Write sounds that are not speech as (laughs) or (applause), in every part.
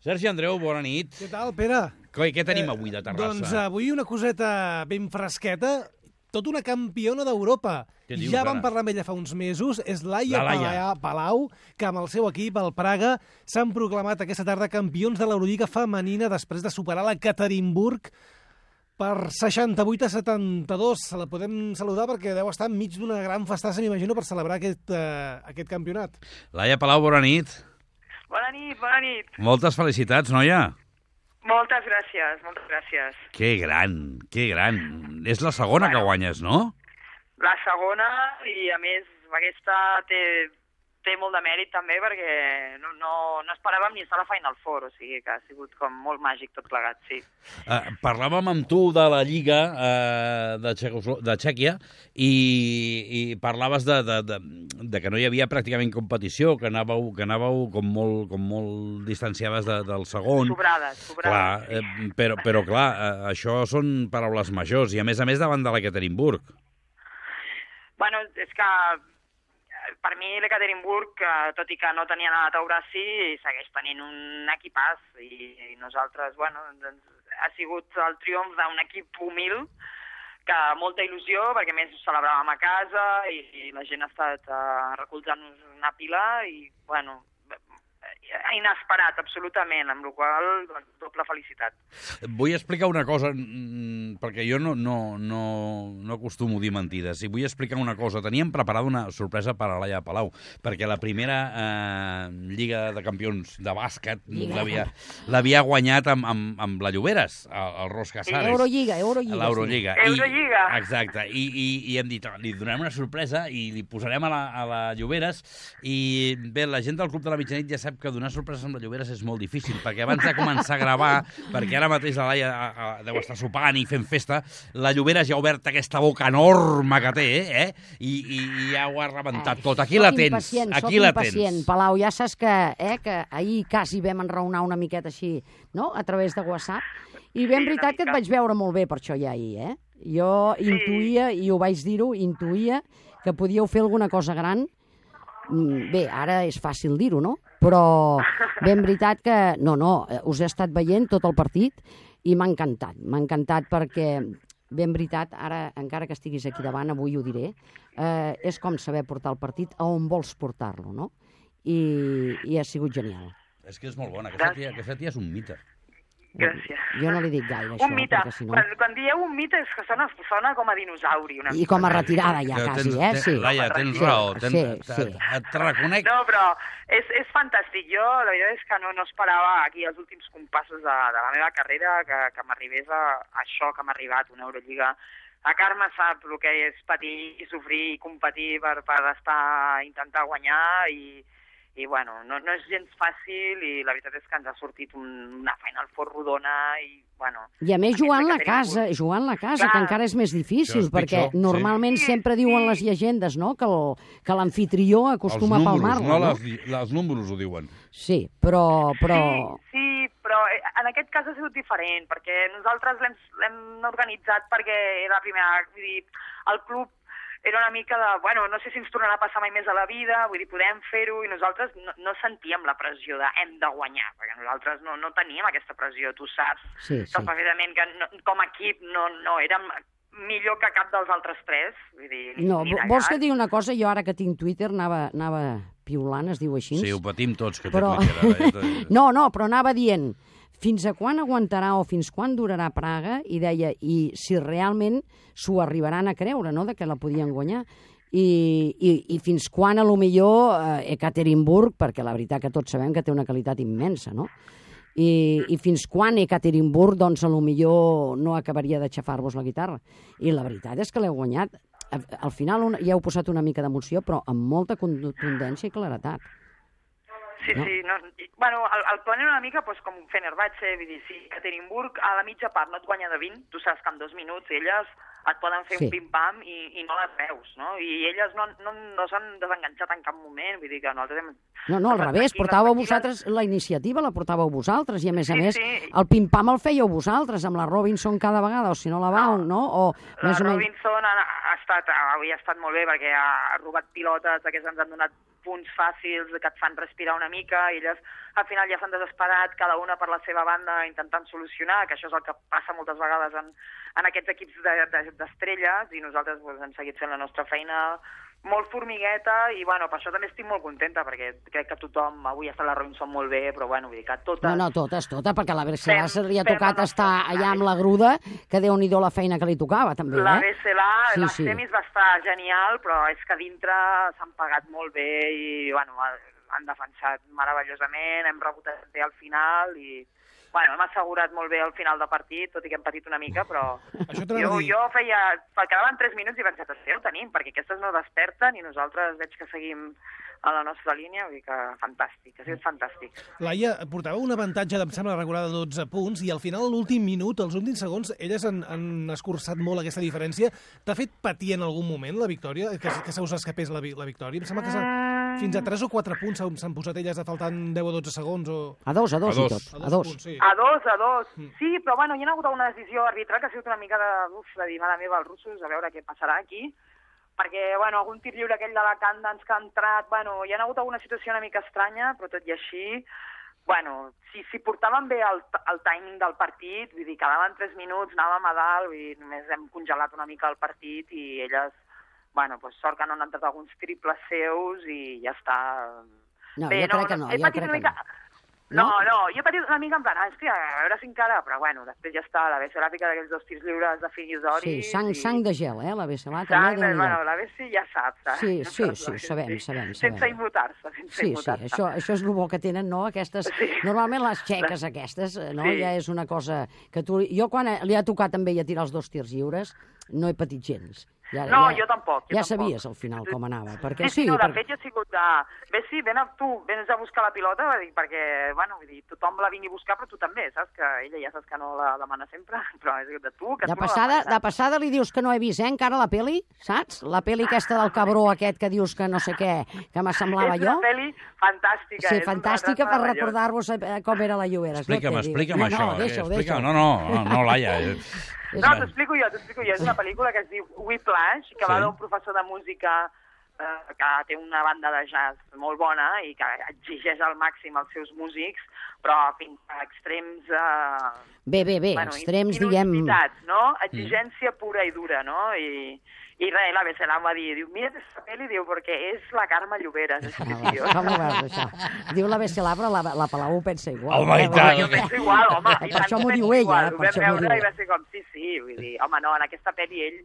Sergi Andreu, bona nit. Què tal, Pere? Coi, què tenim Eh, avui de Terrassa? Doncs avui una coseta ben fresqueta, tot una campiona d'Europa. Què dius, ja vam ara? parlar amb ella fa uns mesos, és Laia, La Laia. Pala- Palau, que amb el seu equip, el Praga, s'han proclamat aquesta tarda campions de l'Eurolliga femenina després de superar la Caterinburg per 68 a 72. Se la podem saludar perquè deu estar enmig d'una gran festassa, m'imagino, per celebrar aquest, eh, aquest campionat. Laia Palau, bona nit. Bona nit, bona nit. Moltes felicitats, noia. Moltes gràcies, moltes gràcies. Que gran, que gran. És la segona que guanyes, no? La segona, i a més, aquesta té, té molt de mèrit també perquè no, no, no esperàvem ni estar a la Final Four, o sigui que ha sigut com molt màgic tot plegat, sí. Eh, parlàvem amb tu de la Lliga eh, de, Txecoslo de Txèquia i, i parlaves de, de, de, de que no hi havia pràcticament competició, que anàveu, que anàveu com, molt, com molt distanciades de, del segon. Sobrades, sobrades. Clar, eh, però, però clar, eh, això són paraules majors i a més a més davant de la Caterinburg. Bueno, és que eh, per mi l'Ekaterinburg, eh, tot i que no tenia anat a Eurasi, segueix tenint un equipàs i, i nosaltres, bueno, doncs, ha sigut el triomf d'un equip humil que molta il·lusió, perquè a més ho celebràvem a casa i, i la gent ha estat eh, recolzant-nos una pila i, bueno, eh, inesperat, absolutament, amb la qual cosa, doncs, doble felicitat. Vull explicar una cosa, mm, perquè jo no, no, no, no acostumo a dir mentides, i vull explicar una cosa. Teníem preparada una sorpresa per a l'Aia Palau, perquè la primera eh, Lliga de Campions de bàsquet Lliga. l'havia l'havia guanyat amb, amb, amb la Lloberes, el, el Ros Casares. Eurolliga, Eurolliga. L'Eurolliga. sí. Eurolliga. I, exacte. I, i, I hem dit, li donarem una sorpresa i li posarem a la, a la Lloberes. I bé, la gent del Club de la Mitjanit ja sap que donar sorpreses amb la Lloberes és molt difícil, perquè abans de començar a (laughs) gravar, perquè ara mateix la Laia a, a, deu estar sopant i fent festa, la Lloberes ja ha obert aquesta boca enorme que té, eh? I, i, i ja ho ha rebentat tot. Aquí la Ah, Soc tens. impacient, soc Aquí la impacient, tens. Palau, ja saps que, eh, que ahir quasi vam enraonar una miqueta així, no?, a través de WhatsApp, i ben una veritat que et mica. vaig veure molt bé per això ja ahir, eh? Jo intuïa, i ho vaig dir-ho, intuïa que podíeu fer alguna cosa gran. Mm, Bé, ara és fàcil dir-ho, no? Però ben veritat que... No, no, eh, us he estat veient tot el partit i m'ha encantat. M'ha encantat perquè, ben veritat, ara, encara que estiguis aquí davant, avui ho diré, eh, és com saber portar el partit a on vols portar-lo, no? I, I ha sigut genial. És que és molt bona. Aquesta tia, aquesta tia és un mite. Gràcies. Jo no li dic gaire, això, un mite. perquè si no... Quan, quan dieu un mite és que sona, sona com a dinosauri. Una I com a retirada ja, Que quasi, tens- eh? tens- Sí. Laia, tens Sí, raó. Tens, Sí, sí. Et, et reconec No, però és, és fantàstic. Jo, la veritat és que no, no esperava aquí els últims compassos de, de la meva carrera que, que m'arribés a, a això que m'ha arribat, una Eurolliga. La Carme sap el que és patir i sofrir i competir per, per estar, intentar guanyar i, i bueno, no, no és gens fàcil i la veritat és que ens ha sortit un, una Final Four rodona i, bueno... I a més jugant la aquesta que tenim casa, jugant la casa, Clar. que encara és més Això difícil, és perquè pitjor, sí. normalment Sí, sempre diuen sí. les llegendes, no?, que el- que l'anfitrió acostuma a els números, palmar-la, no? no? Les, les números ho diuen. Sí, però... però... Sí, sí, però eh, en aquest cas ha sigut diferent, perquè nosaltres l'hem l'hem organitzat perquè era la primera... Vull dir, el club era una mica de, bueno, no sé si ens tornarà a passar mai més a la vida, vull dir, podem fer-ho, i nosaltres no, no sentíem la pressió de hem de guanyar, perquè nosaltres no, no teníem aquesta pressió, tu saps, Sí, sí. que evidentment que no, com a equip no, no érem millor que cap dels altres tres, vull dir... ni- No, ni de vols llarg. que et digui una cosa? Jo ara que tinc Twitter anava, anava piulant, es diu així? Sí, ho patim tots, que eh? però... però... (laughs) té no, no, però anava dient fins a quan aguantarà o fins quan durarà Praga i deia, i si realment s'ho arribaran a creure, no?, de que la podien guanyar. I, i, i fins quan, a lo millor, eh, Ekaterinburg, perquè la veritat que tots sabem que té una qualitat immensa, no? I, i fins quan Ekaterinburg, doncs, a lo millor no acabaria d'aixafar-vos la guitarra. I la veritat és que l'heu guanyat. A- Al final un, ja heu posat una mica d'emoció, però amb molta contundència i claretat. Sí, No? sí. No, i- bueno, el, el plan era una mica doncs, com un Fenerbahce, vull dir, si Caterinburg a la mitja part no et guanya de 20, tu saps que en dos minuts elles et poden fer Sí. un pim-pam i, i no les veus, no? I elles no, no, no s'han desenganxat en cap moment, vull dir que nosaltres hem... No, no, al estat revés, tranquil·les, portàveu tranquil·les. vosaltres, la iniciativa la portàveu vosaltres, i a més a Sí, més, sí. el pim-pam el fèieu vosaltres, amb la Robinson cada vegada, o si no la vau, no? O, La més o menys... Robinson ha, ha estat, avui ha estat molt bé perquè ha robat pilotes que ens han donat punts fàcils que et fan respirar una mica, elles al final ja s'han desesperat, cada una per la seva banda intentant solucionar, que això és el que passa moltes vegades en, en aquests equips de- de- d'estrelles, de, i nosaltres pues, hem seguit fent la nostra feina molt formigueta, i bueno, per això també estic molt contenta, perquè crec que tothom, avui ha estat la Robinson molt bé, però bueno, vull dir que totes... No, no, totes, totes, perquè la Bercelà se li ha tota. fem la tocat nostra estar allà amb feina. la gruda, que déu-n'hi-do la feina que li tocava, també, La eh? BCLA, Sí, sí, la sí. semis va estar genial, però és que a dintre s'han pagat molt bé i, bueno, han defensat meravellosament, hem rebotat bé al final i, bueno, hem assegurat molt bé al final de partit, tot i que hem patit una mica, però Això t'anava a jo, dir. jo feia... Quedaven 3 minuts i vaig dir, sí, ho tenim, perquè aquestes no desperten i nosaltres veig que seguim a la nostra línia, vull dir que fantàstic, ha sigut fantàstic. Laia portava un avantatge, em sembla, regular de 12 punts i al final, a l'últim minut, als últims segons, elles han, han escurçat molt aquesta diferència. T'ha fet patir en algun moment la victòria? Que, que se us escapés la, vi- la victòria? Em sembla que s'ha- fins a 3 o 4 punts s'han- s'han posat elles a faltant 10 o 12 segons o... A dos, a dos, A dos. i tot. A dos. punts, sí. A dos, a dos. Sí, però bueno, hi ha hagut una decisió arbitral que ha sigut una mica de, uf, de dir, mare meva, els russos, a veure què passarà aquí. Perquè, bueno, algun tir lliure aquell de la Candance que ha entrat, bueno, hi ha hagut alguna situació una mica estranya, però tot i així, bueno, si, si portaven bé el, t- el timing del partit, vull dir, quedaven 3 minuts, anàvem a dalt, vull dir, només hem congelat una mica el partit i elles, bueno, doncs sort que no han entrat alguns triples seus i ja està. No, jo crec que no, he jo patit crec una que no. no, No? no, jo he patit una mica en plan, ah, hòstia, a veure si encara... Però bueno, després ja està, la BCA pica d'aquells dos tirs lliures de figuis d'ori... Sí, sang, sang de gel, eh? La Bercelà Sang, de... també, déu-n'hi-do. Bueno, la BCA ja saps, eh? (laughs) Sí, sí, sí, sabem, sabem, Sense sabem. immutar-se, sense Sí, sí, immutar-se. això, això és el bo que tenen, no? Aquestes, sí. Sí. Normalment les xeques aquestes, eh, no? Sí. Sí. Ja és una cosa que tu... Jo quan eh, li ha tocat també ja tirar els dos tirs lliures, no he patit gens. Ja, No, ja, jo tampoc, jo ja tampoc. sabies al final com anava, perquè Sí, sí, sí, no, de per- fet jo he sigut de... Bé, sí, ven a tu, vens a buscar la pilota, va dir, perquè, bueno, vull dir, tothom la vingui a buscar, però tu també, saps? Que ella ja saps que no la demana sempre, (laughs) però és de tu, que de tu passada, no la de passada li dius que no he vist, eh, encara la peli, saps? La peli aquesta del cabró aquest que dius que no sé què, que m'assemblava és jo. una pel·li fantàstica. Sí, és un fantàstica per retrat meravellós. recordar-vos eh, com era la Llobera. Explica'm, explica'm no, això. No, eh? deixa-ho, Explica- deixa-ho. No, no, no, no, Laia. eh? No, t'ho explico jo, t'ho explico jo. És una pel·lícula que es diu Whiplash, que sí. Sí. va d'un professor de música eh, que té una banda de jazz molt bona i que exigeix al màxim els seus músics, però fins a extrems... Eh, Bé, bé, bé, bueno, extrems, in- diguem... mm. inusititats, no? Exigència pura i dura, no? I, i res, la Besselà em va dir, diu, mira aquesta pel·li, diu, perquè és la Carme Lloberes, és Ah, que, va, tio. Com ho veus, això? Diu la Besselà, però la, la Palau ho pensa igual. Home, i Eh, tant. va, Jo penso igual, home. Per i tant això que m'ho penso diu ella, igual. eh, Ho vam per això m'ho veure diu I va ser com, sí, sí, vull dir, home, no, en aquesta pel·li ell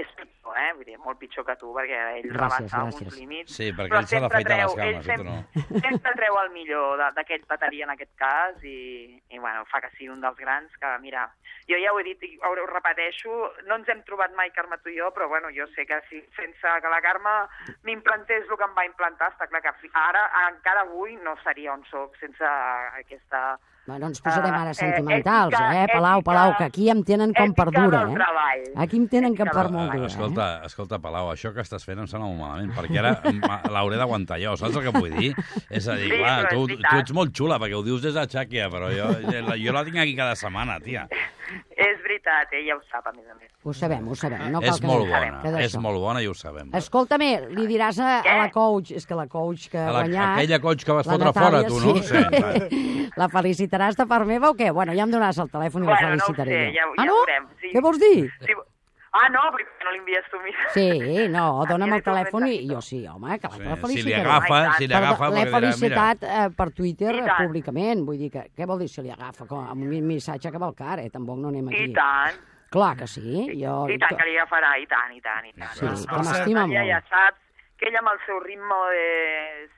és pitjor, eh? Vull dir, molt pitjor que tu, perquè ell Gràcies, rebassa gràcies. uns límits. Sí, perquè però ell se l'ha sempre fet a les treu- ell cames, eh, sempre, sempre treu el millor de- d'aquest bateria en aquest cas i, i, bueno, fa que sigui un dels grans que, mira, jo ja ho he dit i ho ho repeteixo, no ens hem trobat mai, Carme, tu i jo, però, bueno, jo sé que si, sense que la Carme m'implantés el que em va implantar, està clar que fi- ara, encara avui, no seria on soc sense aquesta... Va, no ens posarem ara eh, sentimentals, ètica- eh? Palau, Palau, ètica- que aquí em tenen com per ètica dura, del eh? treball. Aquí em tenen com Ètica per del molt eh? dura, Escolta, escolta, Palau, això que estàs fent em sembla molt malament, perquè ara ma- l'hauré d'aguantar jo, saps el que vull dir? És a dir, Sí, clar, però és tu, veritat. tu ets molt xula, perquè ho dius des de Xàquia, però jo, jo la tinc aquí cada setmana, tia. És veritat, ella ho sap, a més a més. eh? Ho sabem, ho sabem. No cal és que- molt que bona, és d'això. molt bona i ho sabem. Escolta'm, li diràs a, a la coach, és que la coach que ha A la- guanyat... aquella coach que vas la fotre fora, tu, no? sí. (laughs) la felicitaràs de part meva o què? Bueno, ja em donaràs el telèfon i la Bueno, no ho felicitaré sé, jo. ja, ho- ja ah, no? ho veurem. Sí. Què vols (laughs) dir? Sí. Ah, no, perquè no l'envies tu, mira. Sí, (laughs) no, Aquí dona'm el li comenta telèfon i això. jo sí, home, que la, Sí, la si li felicitaré. agafa, si li Perdó, agafa... L'he perquè dirà, mira, felicitat eh, per Twitter I eh, tant. públicament, vull dir que què vol dir si li agafa? Com, amb un missatge que va al car, eh? Tampoc no anem I aquí. tant. Clar que sí. Jo... I tant, que li agafarà, i tant, i tant, i tant. No, Sí, que m'estima ella molt. Ja saps que ella amb el seu ritme de...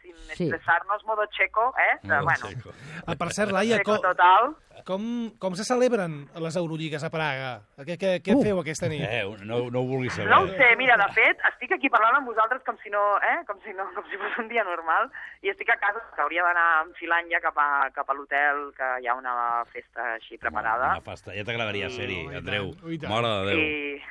sin Sí. expressar-nos, modo checo, eh? De, Modo bueno, checo. Ah, per cert, Laia, checo com, total. com, com se celebren les Euroligues a Praga? Què, què, què Uh. feu aquesta nit? Eh, no, no ho vulguis saber. No ho sé, mira, de fet, estic aquí parlant amb vosaltres com si no, eh? Com si no, com si fos un dia normal, i estic a casa, que hauria d'anar enfilant ja cap a, cap a l'hotel, que hi ha una festa així preparada. Una festa, ja t'agradaria ser-hi, Oh, i Andreu. tant, oh, i tant. Mare de Déu. I...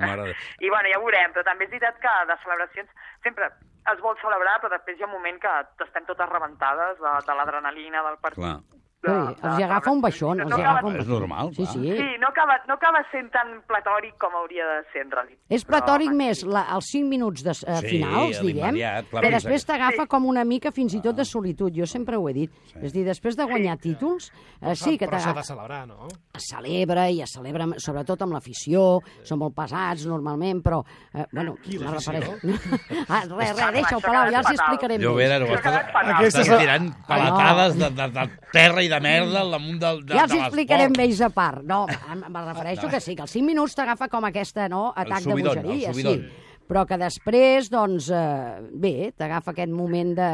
Mare de... (laughs) I bueno, ja ho veurem, però també és veritat que de celebracions sempre es vol celebrar, però després hi ha un moment que estem totes rebentades de, de l'adrenalina del partit. Clar. de... Ui, els hi de- agafa un baixón, els no hi acaba- agafa un És normal, Sí, clar. sí. Sí, no acaba, no acaba sent tan platòric com hauria de ser, en realitat. És Però, platòric home, més sí. la, els 5 minuts de, eh, Sí, finals, a diguem, l'immediat, clar, però fins després a- t'agafa com una mica fins i tot de solitud. Jo sempre ho he dit. És a dir, després de guanyar títols, eh, sí que Però s'ha t'agafa de celebrar, no? es celebra i es celebra amb- sobretot amb l'afició, són molt pesats normalment, però, eh, bueno, Qui, no l'afició? refereixo. (laughs) ah, res, res, Clar, deixa-ho, això Palau, queda ja els hi fatal. explicaré Jo, més. Vera, ho Això estàs, ha quedat estàs fatal. tirant paletades de, de, de, terra i de merda al damunt del, de, Ja els de hi explicarem l'esport. més a part. No, em, em refereixo que sí, que els 5 minuts t'agafa com aquesta, no?, atac subidon, de el bogeria, sí. subidon. Però que després, doncs, eh, bé, t'agafa aquest moment de,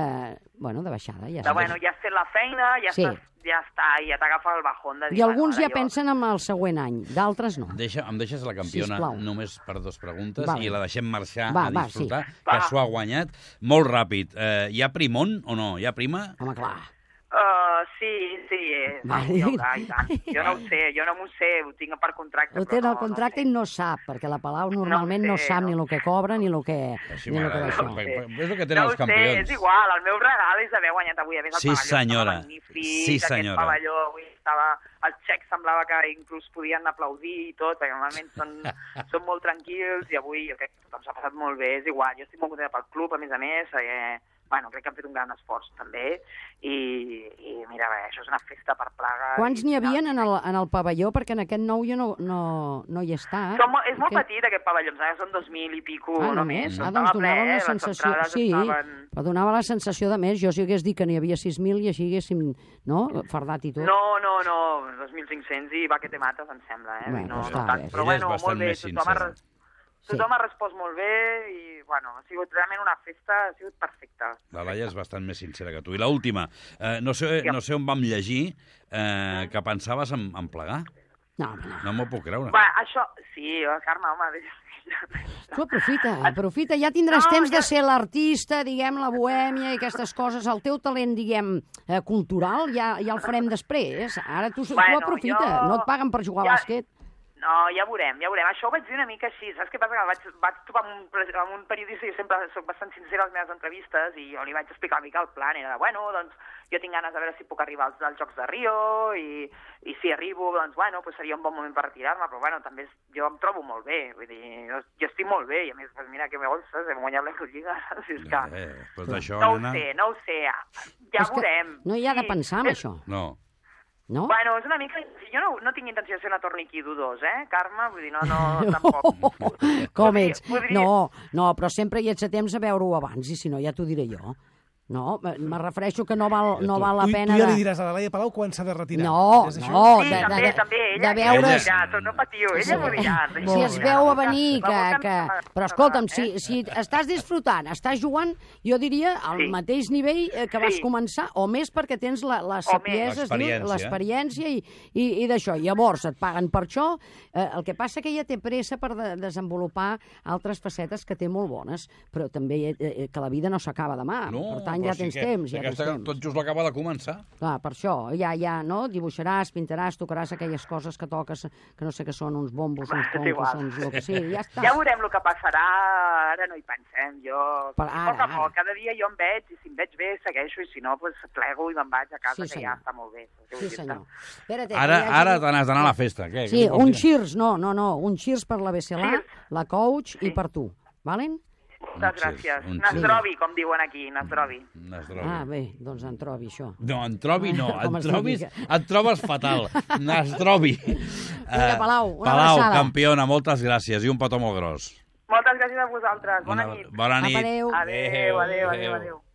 bueno, de baixada, ja Però, està. bueno, ja has fet la feina, ja, Sí. sí. estàs, ja està, i ja t'agafa el bajón de dir... I alguns bueno, ja ara jo- pensen en el següent any, d'altres no. Deixa, em deixes la campiona Sisplau. només per dues preguntes Vale. i la deixem marxar Va, a va, disfrutar, sí. que Va. s'ho ha guanyat. Molt ràpid. Eh, hi ha primón o no? Hi ha prima? Home, clar. Uh, sí, sí, eh, Va, sí, hi haurà, i digue'm. tant. Jo no ho sé, jo no m'ho sé, ho tinc per contracte. però Ho té en no, el contracte i no, no sap, perquè la Palau normalment no, sé, sap ni no el que cobra ni el que... Així ni el que m'agrada. d'això. ho sé. Però és el que tenen no els ho sé, campions. és igual, el meu regal és haver guanyat avui a més el Sí, pavelló estava senyora. magnífic, Sí, aquest senyora. pavelló avui estava, els xecs semblava que inclús podien aplaudir i tot, perquè normalment són, (laughs) són molt tranquils i avui jo crec que tothom s'ha passat molt bé, és igual, jo estic molt contenta pel club, a més a més, eh, bueno, crec que han fet un gran esforç també i, i mira, bé, això és una festa per plaga. Quants i n'hi havien finalment- en el, en el pavelló? Perquè en aquest nou jo no, no, no hi està. Són, mo- és molt Aquest- petit aquest pavelló, em sembla que són 2.000 i pico Ah, només. només? Ah, Estava doncs donava ple, una les sensació... entrades Sí, estaven... però donava la sensació de més. Jo si hagués dit que n'hi havia 6.000 i així haguéssim, no?, fardat i tot. No, no, no, 2.500 i va que te mates, em sembla, eh? Bueno, no, està no tant. bé. Però Ella és bueno, bastant molt bé, més tothom ha, sincera. res- tothom ha respost molt bé i, bueno, ha sigut realment una festa, ha sigut perfecta. La Laia és bastant més sincera que tu. I l'última, eh, no, sé, no sé on vam llegir eh, que pensaves en, en plegar. No, home, no. No m'ho puc creure. Va, això, sí, eh, Carme, home... (laughs) Tu aprofita, aprofita. Ja tindràs Ah, No, temps de jo- ser l'artista, diguem, la bohèmia i aquestes coses. El teu talent, diguem, eh, cultural, ja, ja el farem després. Ara tu, Bueno, tu aprofita, jo- no et paguen per jugar ja- a bàsquet. No, ja veurem, ja veurem. Això ho vaig dir una mica així. Saps què passa? Que vaig, vaig trobar amb un, pre- amb un periodista, jo sempre sóc bastant sincera a les meves entrevistes, i jo li vaig explicar una mica el plan. Era de, bueno, doncs, jo tinc ganes de veure si puc arribar als, als Jocs de Rio, i, i si arribo, doncs, bueno, doncs seria un bon moment per retirar-me, però, bueno, també és- jo em trobo molt bé. Vull dir, jo, jo estic molt bé, i a més, doncs, mira, que me golses, hem guanyat l'Eurolliga. (laughs) Si és que... Eh, després d'això, No ho nena... sé, no ho sé. Ja És que veurem. No hi ha de Sí, pensar en és- això, No. no? Bueno, és una mica... Jo no, no tinc intenció de ser una torniqui dudós, eh, Carme? Vull dir, no, (laughs) no, tampoc. Com Podria- ets? podria- No, no, però sempre hi ets a temps a veure-ho abans, i si no ja t'ho diré jo. No, me- me refereixo que no val, no val la tu, pena... tu ja li de... diràs a la Laia Palau quan s'ha de retirar. No, És això? no, Sí, Oh, de, de, també, de, també, ella, de veure's... Ella m'ho dirà, no patiu, ella m'ho dirà. Si es veu a venir que... que... Però escolta'm, si, sí. si estàs disfrutant, estàs jugant, jo diria al Sí. mateix nivell eh, que vas Sí. començar, o més perquè tens la, la sapiesa, es diu, L'experiència. l'experiència i, i, i d'això. Llavors et paguen per això, eh, el que passa que ella té pressa per de desenvolupar altres facetes que té molt bones, però també eh, eh, que la vida no s'acaba demà, No, Ah, per tant ja però sí tens que- temps, ja tens aquesta temps. Tot just l'acaba de començar. Clar, per això, ja, ja, no? Dibuixaràs, pintaràs, tocaràs aquelles coses que toques, que no sé què són, uns bombos, Va, uns és bombos, igual. uns... el que sigui, ja està. Ja veurem el que passarà, ara no hi pensem, jo... Per a poc ara, a poc, ara. cada dia jo em veig, i si em veig bé segueixo, i si no, doncs plego i me'n vaig a casa, Sí, que senyor. ja està molt bé. Sí, senyor. Ara, Espera't, que hi hagi- ara te n'has d'anar a la festa. Què? Sí, Què vols un dir? cheers, no, no, no, un cheers per la BCLA, Cheers. la coach i Sí. per tu, valen? Un cheers, Moltes gràcies. un Mm. cheers. Nastrovi, com diuen aquí, Nastrovi. N'has de Ah, bé, doncs en trobi això. No, en trobi (laughs) no, Com en es diu, trobis, Miquel? et trobes fatal, es trobi. (laughs) Vinga, Palau, una Palau, abraçada. campiona, moltes gràcies i un petó molt gros. Moltes gràcies a vosaltres. Bona Una- nit. Bona nit. Apa, adéu. Adéu, adéu, adéu, adéu.